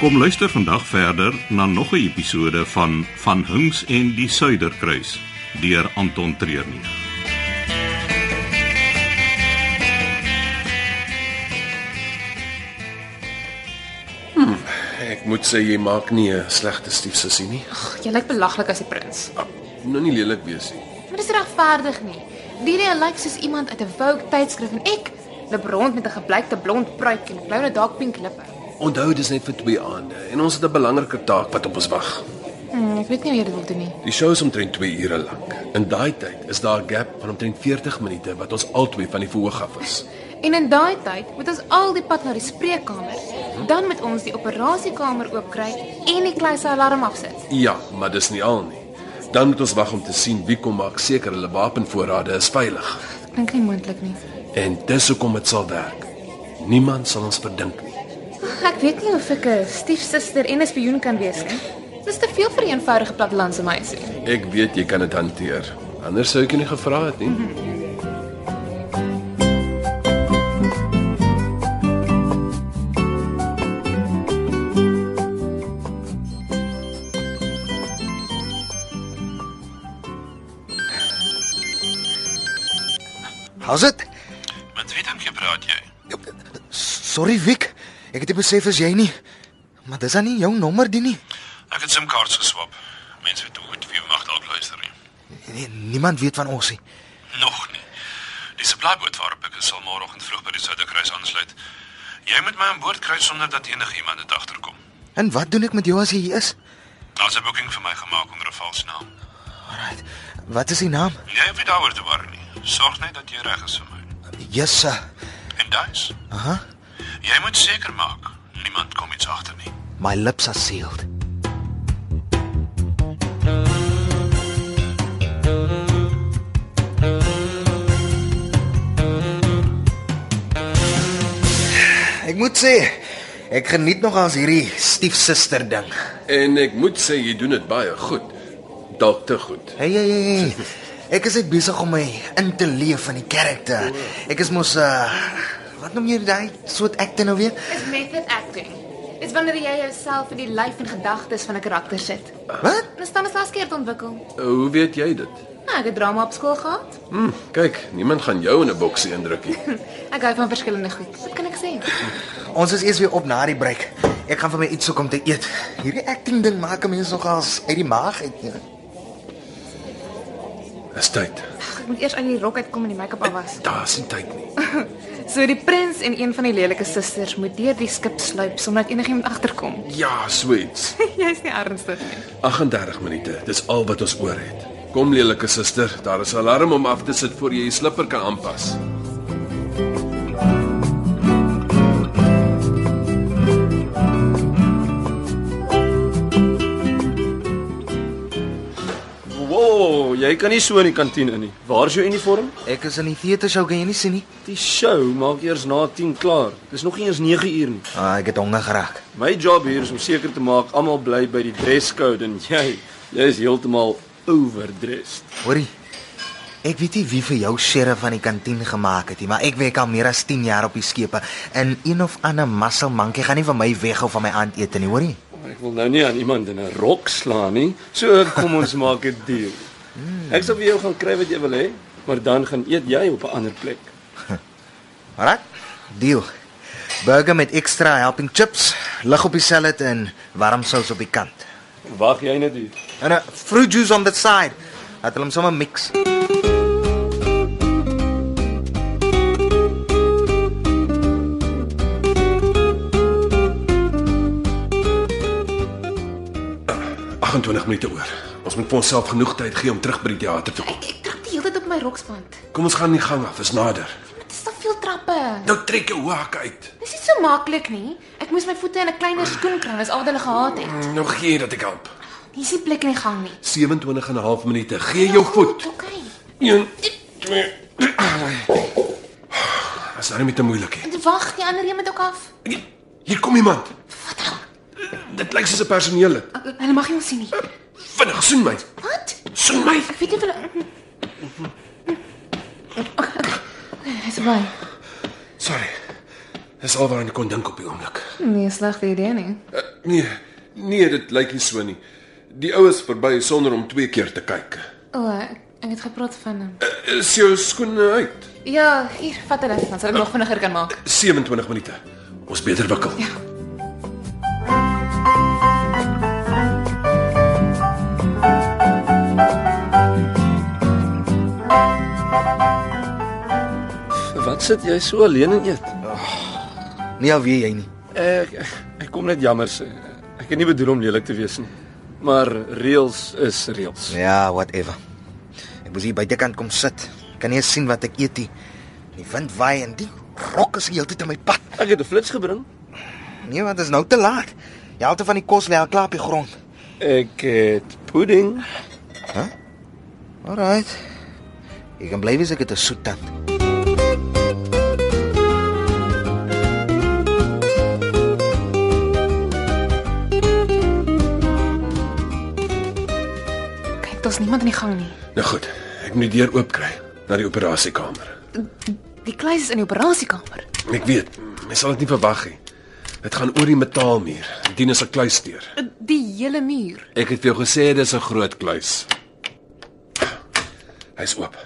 Kom luister vandag verder na nog 'n episode van Van Hinks en die Suiderkruis deur Anton Treurnig. Ek moet sê jy maak nie 'n slegte stiefsussie nie. Ag, Jy lyk belaglik as 'n prins. Ah, Moenie lelik wees nie. Maar dis regverdig nie. Delia lyk soos iemand uit 'n Vogue tydskrif en ek loop rond met 'n gebleikte blond pruik en 'n blou dark pink lippe. Onthou dis net vir 2 aande en ons het 'n belangrike taak wat op ons wag. Hmm, ek weet nie hoe jy dit wil doen nie. Die show is omtrent 2 ure lank. In daai tyd is daar 'n gap van omtrent 40 minute wat ons albei van die verhoog af is. En in daai tyd moet ons al die pad na die spreekkamer, dan moet ons die operasiekamer oopkry en die kluise alarm afsit. Ja, maar dis nie al nie. Dan moet ons wag om te sien wie kom maak seker hulle wapenvoorrade is veilig. Ek dink nie moontlik nie. En dis hoekom dit sal werk. Niemand sal ons verdink nie. Ek weet nie of ek 'n stiefsuster en 'n spioen kan wees nie. Dis te veel vir 'n eenvoudige plattelandse meisie. Ek weet jy kan dit hanteer. Anders sou ek jou nie gevra het nie. Mm -hmm. Haas dit? Met wie dink jy praat jy? Sorry Wick. Ek het nie besef as jy nie. Maar dis dan nie jou nommer die nie. Ek het SIM-kaarte geswap. Mense weet hoe goed wie mag dalk luister nie. Nee, niemand weet van ons nie. Nog nie. Die supplyboot waarop ek is sal môreoggend vroeg by die Suiderkruis aansluit. Jy moet my aan boord kry sonder dat enigiemand dit agterkom. En wat doen ek met jou as jy hier is? Daar's 'n boeking vir my gemaak onder 'n vals naam. Alraai. Wat is die naam? Jy hoef nie daaroor te worry nie. Sorg net dat jy reg is vir my. Jesse. En dis, Aha. jy moet seker maak niemand kom iets agter nie. My lips are sealed. Ek moet sê, ek geniet nog as hierdie stiefsuster ding. En ek moet sê jy doen dit baie goed. Dalk te goed. Hey hey hey. hey. Ek is net besig om my in te leef in die karakter. Ek is mos uh wat noem jy daai soort akte nou weer? Is method acting. Dis wanneer jy jouself in die lyf en gedagtes van 'n karakter sit. Wat? En Stanislas keer te ontwikkel. Uh, Hoe weet jy dit? Nou, ek het drama op skool gehad. Hm, kyk, niemand gaan jou in 'n boksie indruk nie. Ek hou van verskillende goed. Wat kan ek sê? Ons is eers weer op na die break. Ek gaan vir my iets soek om te eet. Hierdie acting ding maak 'n mens nogals uit die maag uit. ja. Dis tyd. Ag, Ek moet eers uit die rok uitkom en die make-up afwas. Daar's nie tyd nie. So die prins en een van die lelike susters moet deur die skip sluip sodat enigiemand agterkom. Ja, sweets. Jy's nie ernstig nie. 38 minute. Dis al wat ons oor het. Kom lelike suster, daar is 'n alarm om af te sit voor jy die slipper kan aanpas. Wow, jy kan nie so in die kantine in nie. Waar is jou uniform? Ek is in die teater sou kan jy nie sien nie. Die show maak eers na 10 klaar. Dis nog nie eens 9 uur nie. Ah, ek het honger geraak. My job hier is om seker te maak almal bly by die dresscode en jy, jy is heeltemal overdressed. Hoorie. Ek weet nie wie vir jou sheriff van die kantien gemaak het nie, maar ek werk al meer as 10 jaar op die skepe en een of ander masselmankie gaan nie van my weghou van my aandete nie, hoorie. Ek wil nou nie aan iemand in 'n rok slaan nie. So kom ons maak 'n deal. Ek sal vir jou gaan kry wat jy wil hê, maar dan gaan eet jy op 'n ander plek. Alraai. Deal. Burger met extra helping chips, lig op die salad en warm sous op die kant. Wag jy net hier. En 'n fruit juice on the side. Laat hulle hom sommer mix. Ag, 28 minute oor. Ons moet vir onsself genoeg tyd gee om terug by die teater te kom. Ek ek trap die hele tyd op my roksband. Kom ons gaan die gang af, is nader. Dit is te veel trappe. Nou trek jou hak uit. Dis nie so maklik nie. Ek moes my voete in 'n kleiner skoen kry, dis al wat hulle gehad het. Nou gee dat ek help. Hier's nie plek in die gang nie. 27 en 'n half minute. Gee jou voet. Okay. 1 2 As nou nie met 'n moeilike. En wag, die ander een moet ook af. Hier kom iemand. Dit lyk soos 'n personeel. Ek- ek- Hulle mag nie ons sien nie. Vinnig, soen my. Wat? Soen my. Ek weet nie of hulle Okay, Hy's baie. Sorry. Dis al wat ek kon dink op die oomblik. Nee, slegte idee nie. Nee, nee, dit lyk nie so nie. Die ou is verby sonder om twee keer te kyk. Eh, O, oh, ek, ek het gepraat van hom. Is jou skoene uit? Ja, hier, vat hulle, dan sal ek nog vinniger kan maak. 27 minute. Ons beter wikkel. Ja. Wat sit jy so alleen en eet? Nie al weet jy nie. Ek ek kom net jammer sê. Ek het nie bedoel om lelik te wees nie. Maar reëls is reëls. Ja, whatever. Ek moes hier buitekant kom sit. Ek Kan nie eens sien wat ek eet nie. Die wind waai en die rok is die hele tyd in my pad. Ek het 'n flits gebring. Nee, want dit is nou te laat. Die helfte van die kos lê al klaar op die grond. Ek het pudding. Alraight. Ek kan bly wees ek het 'n soet tand. Kyk, daar's niemand in die gang nie. Nou goed, ek moet die deur oop kry na die operasiekamer. Die kluis is in die operasiekamer. Ek weet, mens sal dit nie verwag nie. Dit gaan oor die metaalmuur. Dien is 'n kluisdeur. Eh, Die hele muur. Ek het vir jou gesê dis 'n groot kluis. Hy's oop.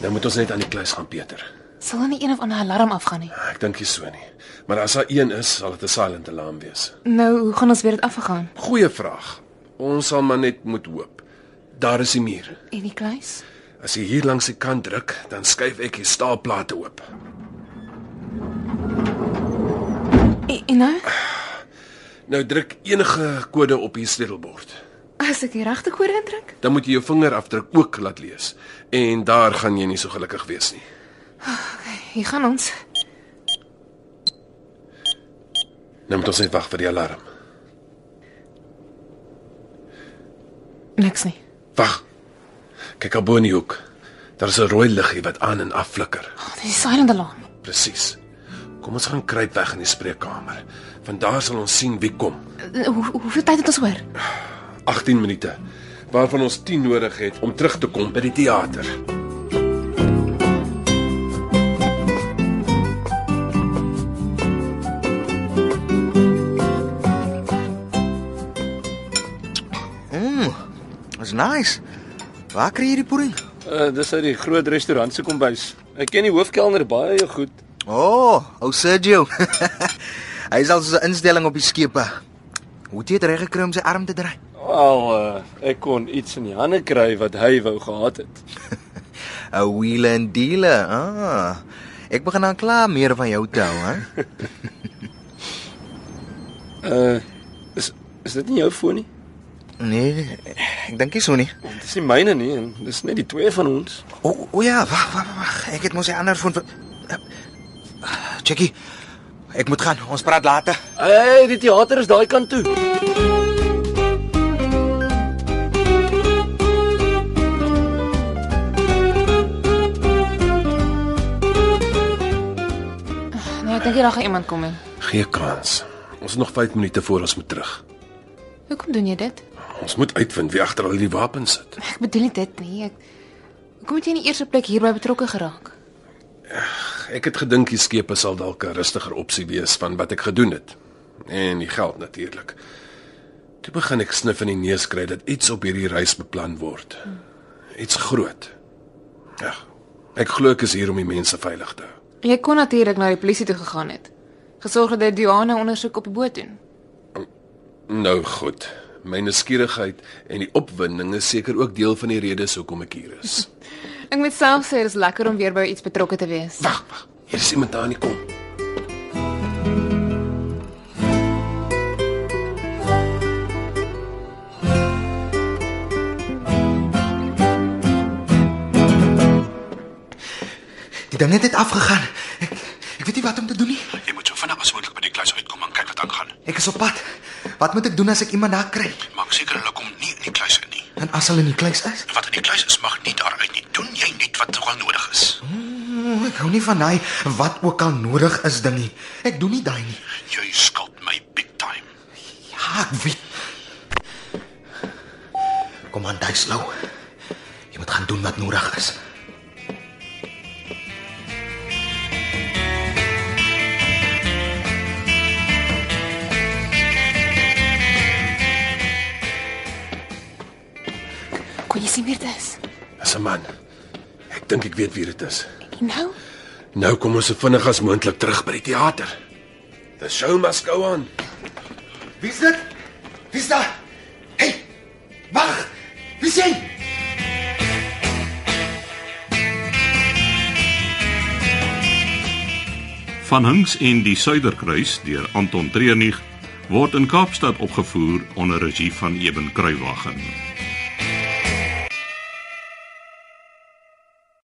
Nou moet ons net aan die kluis gaan, Pieter. Sal daar nie een of ander alarm afgaan nie? Ah, Ek dink nie so nie. Maar as daar een is, sal dit 'n silent alarm wees. Nou, hoe gaan ons weer dit afgaan? Goeie vraag. Ons sal maar net moet hoop. Daar is die muur. En die kluis? As jy hier langs die kant druk, dan skuif ek die staalplate oop. En, en nou, Nou druk enige kode op die sleutelbord. as ek die regte koorde indruk? Dan moet jy jou vingerafdruk ook laat lees en daar gaan jy nie so gelukkig wees nie. Hier gaan ons. Nou moet ons net wag vir die alarm. Niks nie. Wag. Kyk op bo in die hoek. Daar's 'n rooi liggie wat aan en af flikker. Oh, dis die silent alarm. Presies. Kom ons gaan kruip weg in die spreekkamer. Van daar sal ons sien wie kom. Eh, Hoe hoeveel tyd het ons oor? 18 minute waarvan ons 10 nodig het om terug te kom by die teater. Dis nice. Waar kry jy die pudding? Uh, dis uit die groot restaurant se kombuis. Ek ken die hoofkelner baie goed. O, oh, ou Sergio. Hy is al so 'n instelling op die skepe. Hoe het jy dit reg gekry om sy arm te draai? Al uh, ek kon iets in die hande kry wat hy wou gehad het. 'n Wheel and dealer. Ah. Ek begin aan klaar meer van jou te hou, hè? Uh is is dit nie jou foon nie? Nee, ek dink nie so nie. Dit is nie myne nie en dis net die twee van ons. O, o, o ja, wag, wag, wag. Ek het mos 'n ander foon. Eh, Jackie, ek moet gaan. Ons praat later. Hey, die teater is daai kant toe. Nee, ek dink hier gaan iemand kom in. Gee kans. Ons het nog 5 minute voor ons moet terug. Hoekom doen jy dit? Ons moet uitvind wie agter al die wapens sit. Ek bedoel nie dit nie. Ek Hoekom het jy in die eerste plek hierby betrokke geraak? Ek het gedink die skepe sal dalk 'n rustiger opsie wees van wat ek gedoen het. En die geld natuurlik. Toe begin ek snif in die neus kry dat iets op hierdie reis beplan word. Iets groot. Ja. Ek glo ek is hier om die mense veilig te hou. Jy kon natuurlik na die polisie toe gegaan het. Gesorg dat die douane ondersoek op die boot doen. Nou goed. My nuuskierigheid en die opwinding is seker ook deel van die redes hoekom ek hier is. Ek moet self sê dis lekker om weer by iets betrokke te wees. Wag, wag. Hier is iemand daar in die kom. Die ding het net afgegaan. Ek ek weet nie wat om te doen nie. Jy moet so vinnig as moontlik by die kluis uitkom en kyk wat aangaan. Ek is op pad. Wat moet ek doen as ek iemand daar kry? Maak seker hulle kom nie in die kluis in nie. En as hulle in die kluis is? En wat in die kluis is mag nie daar uit nie. Doen jy net wat wel nodig is. Mm, Ek hou nie van daai wat ook al nodig is ding nie. Ek doen nie daai nie. Jy skuld my big time. Ja, ek weet. Kom aan, daai slou. Jy moet gaan doen wat nodig is. is? Dis 'n man. Ek dink ek weet wie dit is. En nou? Nou kom ons so vinnig as moontlik terug by die teater. The show must go on. Wie's dit? Wie's daar? Hey! Wag! Wie's jy? Van Hinks en die Suiderkruis deur Anton Treurnig word in Kaapstad opgevoer onder regie van Eben Kruiwagen.